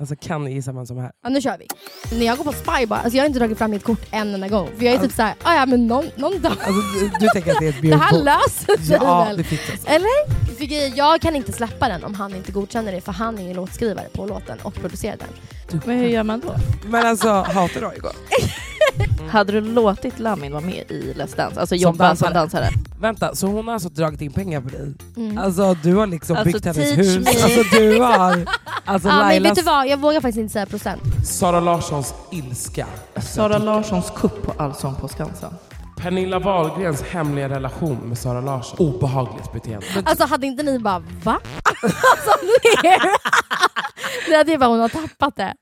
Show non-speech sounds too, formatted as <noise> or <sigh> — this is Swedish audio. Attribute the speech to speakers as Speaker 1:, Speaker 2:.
Speaker 1: Alltså kan ni gissa vem som är här?
Speaker 2: Ja, nu kör vi. När jag går på spybar, alltså jag har inte dragit fram mitt kort en enda gång. För jag är typ såhär, ah, ja men någon, någon dag.
Speaker 1: Alltså, du, du tänker att det är ett
Speaker 2: <laughs> Det här
Speaker 1: björnbord?
Speaker 2: löser sig
Speaker 1: Ja, det
Speaker 2: väl?
Speaker 1: fixas.
Speaker 2: Eller? För grejen, jag kan inte släppa den om han inte godkänner det för han är ju låtskrivare på låten och producerar den.
Speaker 3: Men hur gör man då?
Speaker 1: Men alltså, hatar du igår?
Speaker 3: Hade du låtit Lamin vara med i Let's Dance? Alltså
Speaker 1: Som
Speaker 3: jobba som
Speaker 1: dansare.
Speaker 3: dansare?
Speaker 1: Vänta, så hon har alltså dragit in pengar på dig?
Speaker 2: Mm.
Speaker 1: Alltså du har liksom
Speaker 3: Alltså,
Speaker 1: byggt hennes
Speaker 3: teach
Speaker 1: hus.
Speaker 3: me.
Speaker 1: Alltså du
Speaker 3: <laughs>
Speaker 1: har... Alltså
Speaker 2: ja, men vet
Speaker 1: Lailas...
Speaker 2: du vad, jag vågar faktiskt inte säga procent.
Speaker 4: Sara Larssons ilska.
Speaker 3: Sara Larssons kupp på Allsång på Skansen.
Speaker 4: Pernilla Wahlgrens hemliga relation med Sara Larsson. Obehagligt beteende.
Speaker 2: Alltså hade <laughs> inte ni bara va? Alltså, ni, ni hade ju bara hon har tappat det.